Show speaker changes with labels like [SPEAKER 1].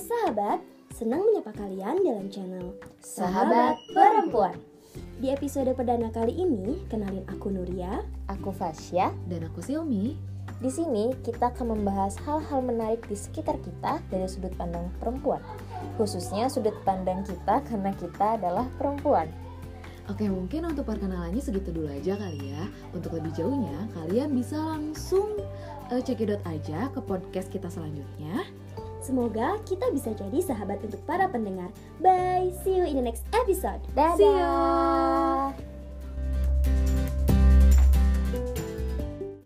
[SPEAKER 1] sahabat, senang menyapa kalian dalam channel
[SPEAKER 2] Sahabat Perempuan.
[SPEAKER 1] Di episode perdana kali ini, kenalin aku Nuria.
[SPEAKER 2] Aku Fasya.
[SPEAKER 3] Dan aku Silmi.
[SPEAKER 2] Di sini kita akan membahas hal-hal menarik di sekitar kita dari sudut pandang perempuan. Khususnya sudut pandang kita karena kita adalah perempuan.
[SPEAKER 3] Oke, mungkin untuk perkenalannya segitu dulu aja kali ya. Untuk lebih jauhnya, kalian bisa langsung eh, cekidot aja ke podcast kita selanjutnya.
[SPEAKER 1] Semoga kita bisa jadi sahabat untuk para pendengar. Bye, see you in the next episode.
[SPEAKER 2] Dadah.
[SPEAKER 3] See ya!